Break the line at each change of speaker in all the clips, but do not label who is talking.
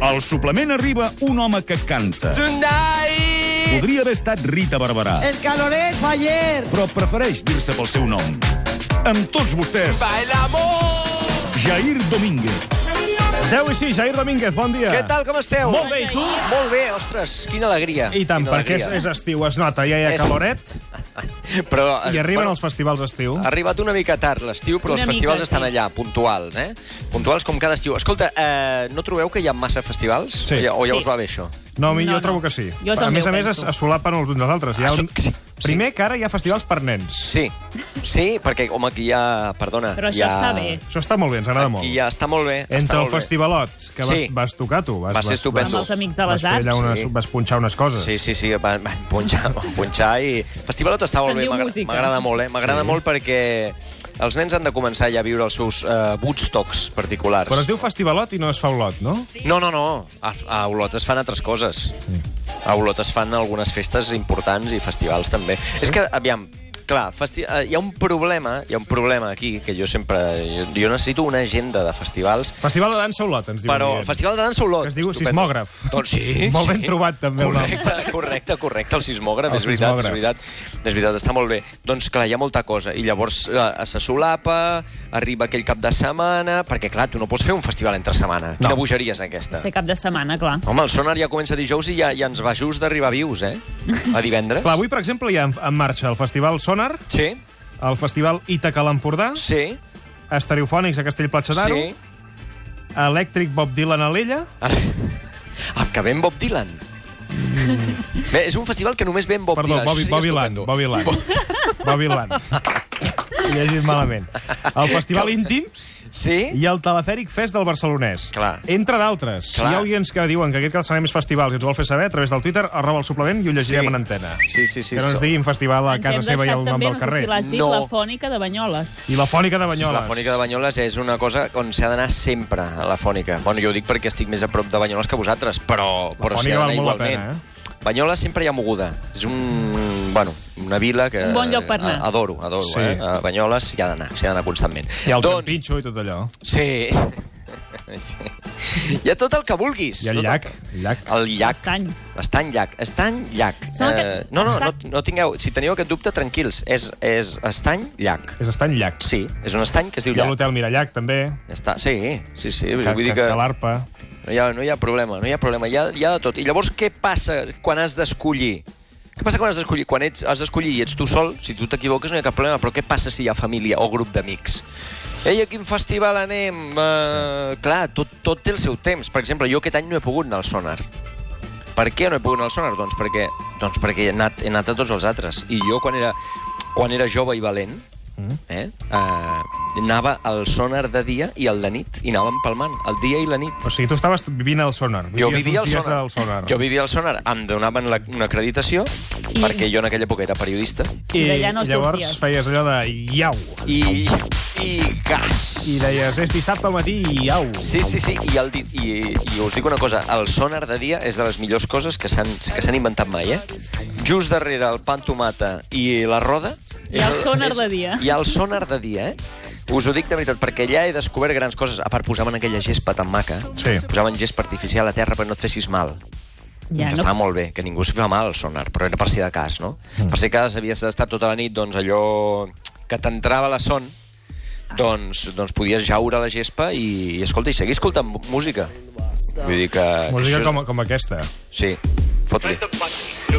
Al suplement arriba un home que canta.
Tonight.
Podria haver estat Rita Barberà,
El caloret fue ayer.
però prefereix dir-se pel seu nom. Amb tots vostès,
Bailamos.
Jair Domínguez.
10 i 6, Jair Domínguez, bon dia.
Què tal, com esteu?
Ah. Molt bé, i tu?
Molt bé, ostres, quina alegria.
I tant,
quina
perquè és, és estiu, es nota, ja hi ha
És-
caloret
Però, eh,
i arriben els festivals d'estiu.
Ha arribat una mica tard l'estiu, però
Una
els festivals
mica,
estan
sí.
allà, puntuals, eh? Puntuals com cada estiu. Escolta, eh, no trobeu que hi ha massa festivals?
Sí.
O ja, o ja
Sí.
us va bé, això?
No, a mi
No,
jo
no.
trobo que sí.
Jo
a
també
més a
ho
més, es,
penso.
es solapen els uns dels altres. Hi ha
Ah,
un...
so- sí, sí.
Primer, que ara hi ha festivals per nens.
Sí, sí, perquè, home, aquí hi ha... Perdona,
Però
hi
això
ha...
està bé.
Això està molt bé, ens agrada molt.
Aquí ja està molt bé. està
Entre el
molt bé.
festivalot, que vas,
Sí.
vas tocar tu. Vas,
Va ser
vas-
estupendo.
vas-
Amb els
Amics de
vas
les
fer allà
Arts.
Unes,
Sí.
Vas punxar unes coses.
Sí, sí, sí, van, van punxar, van punxar i... Festivalot està molt
Se'n
bé,
diu
m'agra-
música.
m'agrada molt, eh? M'agrada molt perquè els nens han de començar ja a viure els seus uh, Woodstocks particulars.
Però es diu festivalot i no es fa olot, no?
No, no, no. A, a Olot es fan altres coses. A Olot es fan algunes festes importants i festivals també. Sí? És que, aviam, clar, festi... eh, hi ha un problema, hi ha un problema aquí, que jo sempre... Jo, jo necessito una agenda de festivals
Festival de dansa olot, ens diuen.
però el
dient.
Festival de Dansa Olot...
Que es diu
estupendo.
sismògraf.
Doncs sí,
Molt ben
sí.
trobat, també, el nom.
Correcte, correcte, correcte, el sismògraf,
El
és veritat,
sismògraf.
és veritat. És veritat, està molt bé. Doncs clar, hi ha molta cosa. I llavors eh, se solapa, arriba aquell cap de setmana... Perquè clar, tu no pots fer un festival entre setmana. Quina
No.
bogeria és aquesta?
Ser cap de setmana, clar.
Home, el sonar ja comença dijous i ja, ja ens va just d'arribar vius, eh? A divendres.
Clar, avui, per exemple, hi ha en, en marxa el Festival Sonar,
Sí,
el Festival Ítaca a l'Empordà,
sí,
Estereofònics a Castellplatja d'Aro,
sí.
Elèctric Bob Dylan a l'Ella,
Ara... Ah, que ven Bob Dylan. Bé, és un festival que només ven Bob
Mm. Perdó,
Dylan.
Bobby,
Això seria
Bobby Land.
estupendo.
Bobby Land. Bobby Land. He llegit malament. El Festival Íntims
Sí?
i el Telefèric Fest del Barcelonès.
Clar.
Entre d'altres. Si
Clar.
hi ha oients que diuen que aquest cal serà més festivals i ens ho vol fer saber, a través del Twitter, arroba el suplement i ho llegirem
Sí.
en antena.
Sí, sí, sí.
que no ens
so-
diguin festival a
Ens
casa
hem
seva i
deixat
el nom
també,
del carrer.
No sé si l'has dit,
No.
la fònica de Banyoles.
I la fònica de Banyoles.
La fònica de Banyoles és una cosa on s'ha d'anar sempre, a la fònica. Bueno, jo ho dic perquè estic més a prop de Banyoles que vosaltres, però, però s'hi
fònica
ha
val
d'anar
molt la
igualment.
pena, eh?
Banyoles sempre hi ha moguda. És un... Bueno, una vila que...
Un bon lloc per anar.
a- Adoro, adoro,
Sí.
eh? A Banyoles s'hi ha d'anar, s'hi ha d'anar constantment.
I el
doncs,
Campinxo i tot allò.
Sí. sí. Hi ha tot el que vulguis.
I el
Tot
llac.
que-
El llac.
El llac.
Estany.
Estany llac. Estany llac.
Sembla que-
Eh, no, no, no,
Estany-
no tingueu... Si teniu aquest dubte, tranquils. És, és estany llac.
És estar en llac.
Sí, és un estany que es diu
Hi ha
llac.
l'hotel Mirallac, també.
Ja està. Sí, sí, sí.
Que,
Vull
que,
dir que
que l'arpa.
no hi, ha, no hi ha problema, no hi ha problema. Hi ha, hi ha de tot. I llavors què passa quan has d'escollir? Què passa quan has d'escollir? Quan ets, has d'escollir i ets tu sol, si tu t'equivoques no hi ha cap problema, però què passa si hi ha família o grup d'amics? Ei, a quin festival anem? Uh, clar, tot, tot té el seu temps. Per exemple, jo aquest any no he pogut anar al Sonar. Per què no he pogut anar al Sonar? Doncs perquè, doncs perquè he, anat, he anat a tots els altres. I jo, quan era, quan era jove i valent, eh, uh, anava al Sonar de dia i al de nit, i anàvem palmant, el dia i la nit.
O sigui, tu estaves vivint al sonar.
Jo
Vivies
vivia al
uns dies
sonar.
al sonar.
Jo vivia al sonar. Em donaven la, una acreditació,
I-
perquè jo en aquella època era periodista,
I
D'allà no
llavors
sorties.
feies allò de iau.
i... i gas.
I deies, "Eh, és dissabte al matí, iau.
Sí, sí, sí, i, el, di- i, i us dic una cosa, el sonar de dia és de les millors coses que s'han que s'han inventat mai, eh? Just darrere el pan tomata i la roda...
Hi ha el sonar
és-
de dia.
Hi ha el sonar de dia, eh? Us ho dic de veritat, perquè allà he descobert grans coses. A part, posaven aquella gespa tan maca.
Sí.
Posaven gespa artificial a terra perquè no et fessis mal. Ja,
Ja,
no... Estava
no,
molt bé, que ningú s'hi fa mal al sonar, però era per si de cas, no? Mm. Per si de cas havies d'estar tota la nit, doncs allò que t'entrava la son, doncs, doncs podies jaure a la gespa i, i escolta, i seguir escoltant mu- música. Vull dir que...
Música
que això és-
com, com aquesta.
Sí, fot-li. Sí,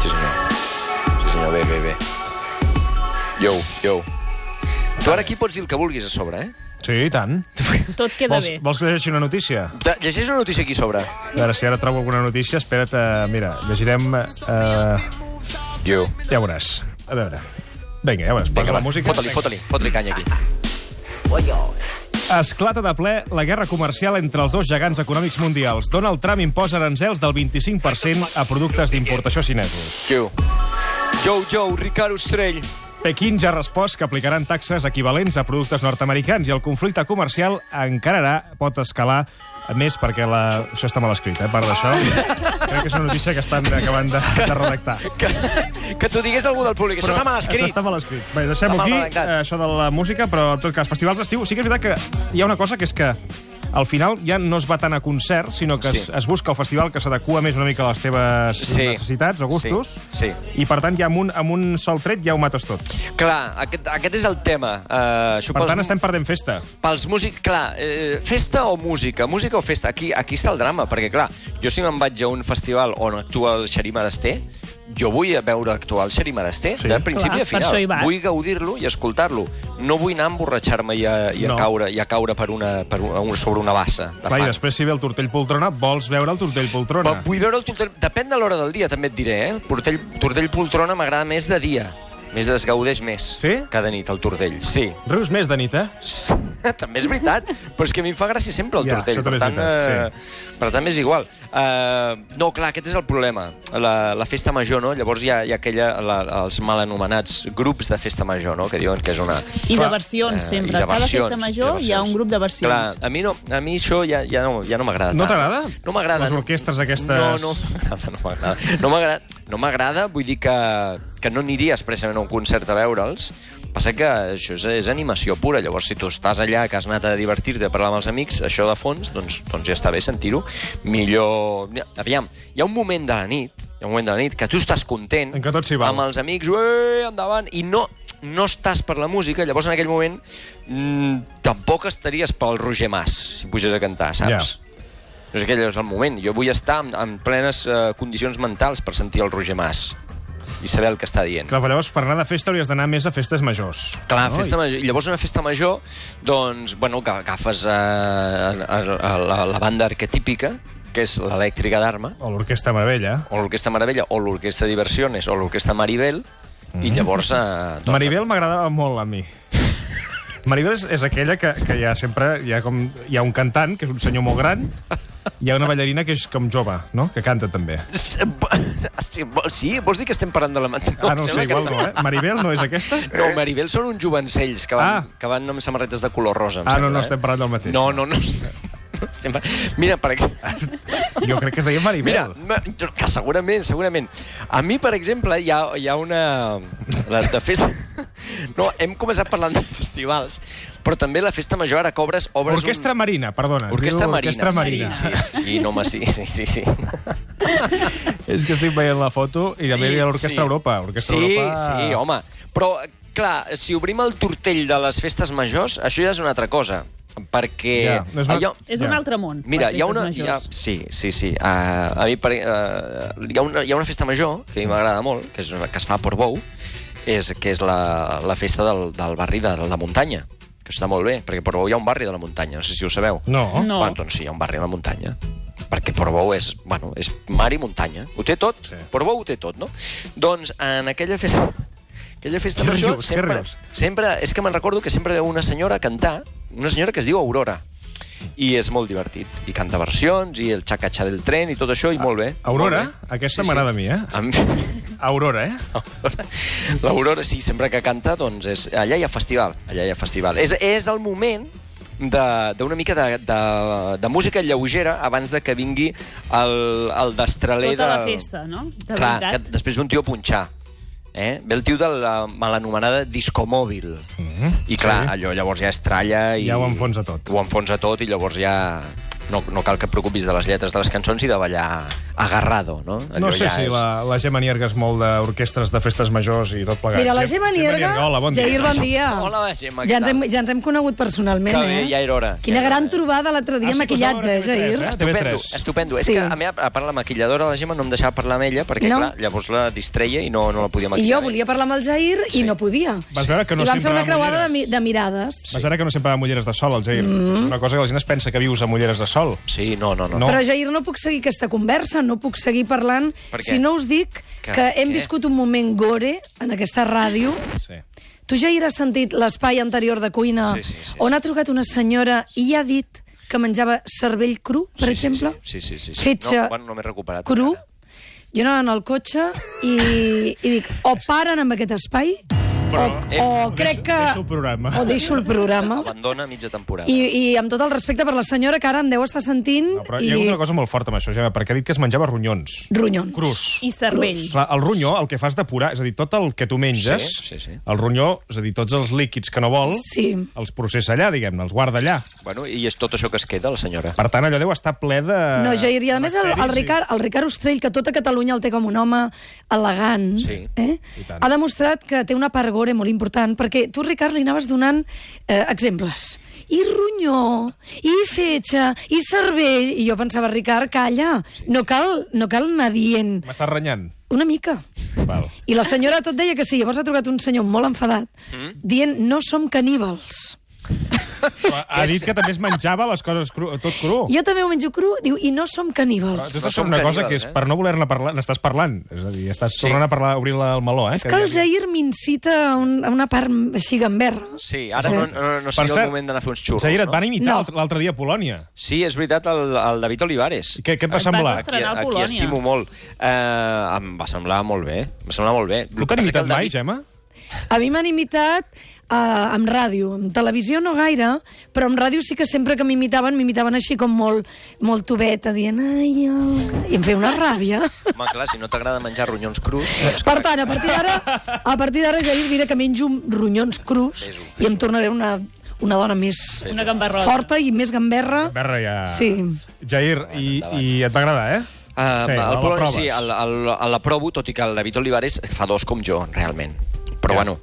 senyor. Sí, senyor, bé, bé, bé. Yo, yo. Tu ara aquí pots dir el que vulguis a sobre, eh?
Sí, i tant.
tot queda
Vols,
bé.
vols que llegeixi una notícia?
Te- Llegeix una notícia aquí a sobre.
A veure, si ara trobo alguna notícia, espera't, eh, mira, llegirem... Eh,
Jo.
ja veuràs. A veure. Vinga, ja veuràs. Posa
Vinga,
la
va,
música.
fot-li, fot-li, fot-li canya aquí.
Esclata de ple la guerra comercial entre els dos gegants econòmics mundials. Donald Trump imposa aranzels del 25% a productes d'importació xinesos.
Jo. Jo, jo, Ricard Ostrell.
Pequín ja ha respost que aplicaran taxes equivalents a productes nord-americans i el conflicte comercial encararà, pot escalar a més perquè la... Això està mal escrit, eh? A part d'això, crec que és una notícia que estan acabant de, de redactar.
Que, que t'ho digués algú del públic. Això
Però
està mal escrit.
Està mal escrit. Bé, deixem
Està mal
aquí
redactat.
eh, això de la música, però en tot cas, festivals d'estiu... Sí que és veritat que hi ha una cosa que és que al final ja no es va tant a concerts, sinó que es,
Sí.
es busca el festival que s'adequa més una mica a les teves
Sí.
necessitats o gustos.
Sí, sí.
I, per tant, ja amb un, amb un sol tret ja ho mates tot.
Clar, aquest, aquest és el tema. Uh, això
Per
pels-
tant, estem perdent festa.
Pels músics, clar, eh, festa o música? Música o festa? Aquí, aquí està el drama, perquè, clar, jo si me'n vaig a un festival on actua el Xerí Marasté, jo vull veure actuar el Xerí Marasté
Sí.
sí. de principi
Clar,
a final.
per això hi vas.
Vull gaudir-lo i escoltar-lo. No vull anar a emborratxar-me i, a, i, a
No.
caure, i a caure per una, per un, sobre una bassa. De
Clar, i
fang.
després si ve el Tortell Poltrona, vols veure el Tortell Poltrona.
Però vull veure el tortell... Depèn de l'hora del dia, també et diré, eh? El tortell, tortell poltrona m'agrada més de dia. Més es gaudeix més
Sí?
cada nit, el tortell. Sí.
Rius més de nit, eh?
Sí, també és veritat, però és que a mi em fa gràcia sempre el
Ja,
tortell.
això també és veritat,
eh, per tant, és igual. Uh, no, clar, aquest és el problema. La, la festa major, no? Llavors hi ha, hi ha aquella, la, els mal anomenats grups de festa major, no? Que diuen que és una...
I de versions,
Eh,
sempre.
i de
A Cada
versions, i
festa major
de
hi ha
versions.
un grup de versions.
Clar, a mi, no, a mi això ja, ja no, ja no m'agrada.
No
tant.
t'agrada?
No m'agrada.
Les orquestres aquestes-
No, no m'agrada, no m'agrada. No m'agrada, no m'agrada, vull dir que, que no aniria expressament a un concert a veure'ls. Passa que això és, és animació pura, llavors si tu estàs allà, que has anat a divertir-te, a parlar amb els amics, això de fons, doncs, doncs ja està bé sentir-ho. Millor... Aviam, hi ha un moment de la nit, hi ha un moment de la nit que tu estàs content,
En què tot s'hi val.
amb els amics, ué, endavant, i no, no estàs per la música, llavors en aquell moment mm, tampoc estaries pel Roger Mas, si pugés a cantar, saps? Yeah. No és aquell és el moment. Jo vull estar en, en plenes eh, condicions mentals per sentir el Roger Mas i saber el que està dient.
Clar, però llavors, per anar de festa hauries d'anar més a festes majors.
Clar,
no?
festa major. Llavors, una festa major, doncs, bueno, que agafes eh, a, a, la, la banda arquetípica, que és l'elèctrica d'arma,
O l'Orquestra Mavella.
o l'Orquestra Meravella, o l'Orquestra Diversiones, o l'Orquestra Maribel, mm. i llavors... Eh, doncs,
Mm-hmm. Maribel m'agradava molt a mi. Maribel és, és aquella que, que hi ha sempre... Hi ha, com, hi ha un cantant, que és un senyor molt gran, hi ha una ballarina que és com jove, no? que canta també.
Sí, vol- sí, vols dir que estem parlant de la mateixa?
Ah, no ho sé, igual no, eh? Maribel no és aquesta?
No, Maribel són uns jovencells que van,
Ah.
ah. que van amb samarretes de color rosa. em
Ah, no,
sembla,
no
eh?
estem parlant del mateix.
No, no, no. no estem... par- Mira, per exemple...
Jo crec que es deia Maribel.
Mira, ma- jo- que segurament, segurament. A mi, per exemple, hi ha, hi ha una... La de festa... No, hem començat parlant de festivals, però també la festa major ara cobres... Obres
Orquestra
un...
Marina, perdona. es
Orquestra
diu
Marina.
Orquestra Marina.
Sí, sí, sí, no, home, sí, sí, sí, sí.
És que estic veient la foto i també hi havia l'Orquestra Europa. Orquestra
sí,
Europa...
Sí, home. Però, clar, si obrim el tortell de les festes majors, això ja és una altra cosa. Perquè...
Ja, no és una-
allò...
És un
Ja.
altre món,
Mira,
les
hi ha una...
festes
Hi ha,
majors.
sí, sí, sí. Uh, a mi per, uh, hi, ha una, hi ha una festa major que a mi m'agrada molt, que, és una, que es fa a Portbou, és, que és la, la festa del, del barri de, de la muntanya, que està molt bé, perquè a Portbou hi ha un barri de la muntanya, no sé si ho sabeu.
No.
No.
Bueno, doncs sí, hi ha un barri a la muntanya. Perquè Portbou és, bueno, és mar i muntanya. Ho té tot. Sí. Portbou ho té tot, no? Doncs en aquella festa... Aquella festa
Què rius,
major
què
sempre,
rius?
sempre... És que me'n recordo que sempre veu una senyora cantar, una senyora que es diu Aurora, i és molt divertit. I canta versions, i el xacatxa del tren, i tot això, i molt bé.
Aurora,
molt bé.
aquesta m'agrada a mi, eh?
A mi...
Aurora, eh?
L'Aurora, sí, sempre que canta, doncs és, allà hi ha festival. Allà hi ha festival. És, és el moment de- d'una mica de, de, de música lleugera abans de que vingui el, el destraler
Tota la
del-
festa, no? De
Clar, que
veritat.
després ve un tio a punxar. Eh? Ve el tio de la mal anomenada discomòbil. Mm, I clar,
Mm-hmm. sí.
allò llavors ja es tralla... I,
Ja ho enfonsa tot.
Ho enfonsa tot i llavors ja... No, no cal que et preocupis de les lletres de les cançons i de ballar agarrado, no?
No sé
ja
si
és-
la, la Gemma Nierga és molt d'orquestres de festes majors i tot plegat.
Mira, la
Gem-
Gemma Nierga...
hola, bon dia.
Jair, bon dia.
Hola, Gemma, què
ja ens, hem, ja ens hem conegut personalment,
Que bé,
eh?
ja era hora.
Quina
Ja era
gran
hora.
trobada l'altre dia,
Ah, sí, que us
maquillatge, eh,
anava a veure
Jair?
TV3, eh?
Estupendo,
TV3.
estupendo. Sí. És
Sí.
que a mi, a part, la maquilladora, la Gemma, no em deixava parlar amb ella perquè,
No.
clar, llavors la distreia i no, no la podia
I
maquillar.
jo volia parlar amb el Jair i no podia.
Vas veure que no
I vam
sempre
fer una
va
creuada de, mi,
mulleres.
de mirades.
Vas veure que no sempre va amb ulleres de sol, el Jair. Mm. Una cosa que la gent es pensa que vius amb ulleres de sol.
Sí, no, no,
No.
no. no.
Però, Jair, no puc seguir aquesta conversa, no puc seguir parlant
Per què?
si no us dic
Que-
que, hem
què?
viscut un moment gore en aquesta ràdio.
Sí.
Tu, Jair, has sentit l'espai anterior de cuina
Sí, sí, sí,
on ha trucat una senyora i ha dit que menjava cervell cru, per
Sí, sí,
exemple?
sí, sí, sí, sí.
Fetge
No, bueno, no m'he recuperat
cru.
encara.
Jo anava en el cotxe i, i dic, o paren amb aquest espai o,
però...
eh,
o crec que...
deixo el programa.
O deixo el programa.
Abandona mitja temporada.
I, I amb tot el respecte per la senyora que ara em deu estar sentint...
No, però
i...
hi ha hagut una cosa molt forta amb això, ja, perquè ha dit que es menjava ronyons.
Ronyons.
Crus.
I cervell.
Clar, el ronyó, el que fas depurar, és a dir, tot el que tu menges,
Sí, sí, sí.
el ronyó, és a dir, tots els líquids que no vol,
Sí.
els processa allà, diguem-ne, els guarda allà.
Bueno, I és tot això que es queda, la senyora.
Per tant, allò deu estar ple de...
No, jo diria, a
de
més, el, el,
bacteris i-
Ricard, el Ricard Ostrell, que tota Catalunya el té com un home elegant,
Sí,
eh?
i tant.
ha demostrat que té una part gore molt important, perquè tu, Ricard, li anaves donant eh, exemples. I ronyó, i fetge, i cervell... I jo pensava, Ricard, calla, no cal, no cal anar dient
M'estàs renyant?
una mica.
Val.
I la senyora tot deia que sí. Llavors ha trucat un senyor molt enfadat, dient, no som caníbals.
Ha dit que també es menjava les coses cru, tot cru.
Jo també ho menjo cru, diu, i no som caníbals.
Tot
No
això
som
és una cosa
caníbals,
que és,
eh?
per no voler-ne parlar, n'estàs parlant. És a dir, estàs
Sí.
tornant a parlar, obrir la- el meló, eh?
És que el
diguem-ne.
Jair m'incita a, un, a una part així gamberra.
Sí, ara no, no,
Per
no seria
cert,
el moment d'anar a fer uns xurros,
Jair, et
no?
van imitar
No.
l'alt- l'altre dia a Polònia.
Sí, és veritat, el, el David Olivares.
Què- què et va
Aquí-
semblar?
Vas estrenar al
aquí,
Polònia.
aquí estimo molt. Uh, em va semblar molt bé. Em va semblar molt bé.
Tu t'han
El que passa que
imitat
el
mai,
David-
Gemma?
A mi m'han imitat eh, amb ràdio, amb televisió no gaire, però amb ràdio sí que sempre que m'imitaven, m'imitaven així com molt, molt tubeta, dient ai, ai, i em feia una ràbia.
Home, clar, si no t'agrada menjar ronyons crus... Doncs
Per tant, a partir d'ara, a partir d'ara ja diré que menjo ronyons crus
Fes-ho, fes-ho.
i em tornaré una, una dona més
Una gambarrota.
forta i més gamberra.
Berra, ja...
Sí.
Jair, i, i et va agradar, eh?
Uh, sí, el Polònia
proves.
sí, el- el- el- l'aprovo, tot i que el David Olivares fa dos com jo, realment. Però
Ja.
bueno,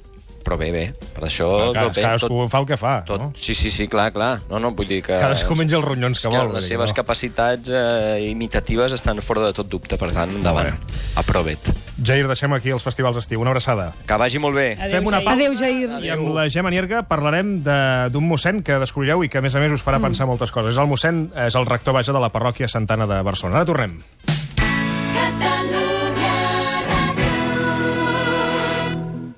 però bé, bé. Per això...
Clar,
tot bé,
Cadascú
tot,
fa el que fa,
tot,
no?
Sí, sí, sí, clar, clar. No, no, vull dir que...
Cadascú menja els ronyons que
és que
vol. vull
Les
dir,
seves
no.
capacitats eh, imitatives estan fora de tot dubte, per tant, endavant. Aprovet.
Jair, deixem aquí els festivals d'estiu. Una abraçada.
Que vagi molt bé.
Adéu,
Fem una
Jair.
pausa.
Adéu, Jair.
I amb la Gemma Nierga parlarem de- d'un mossèn que descobrireu i que, a més a més, us farà pensar moltes coses. És el mossèn, és el rector, vaja, de la parròquia Santana de Barcelona. Ara tornem.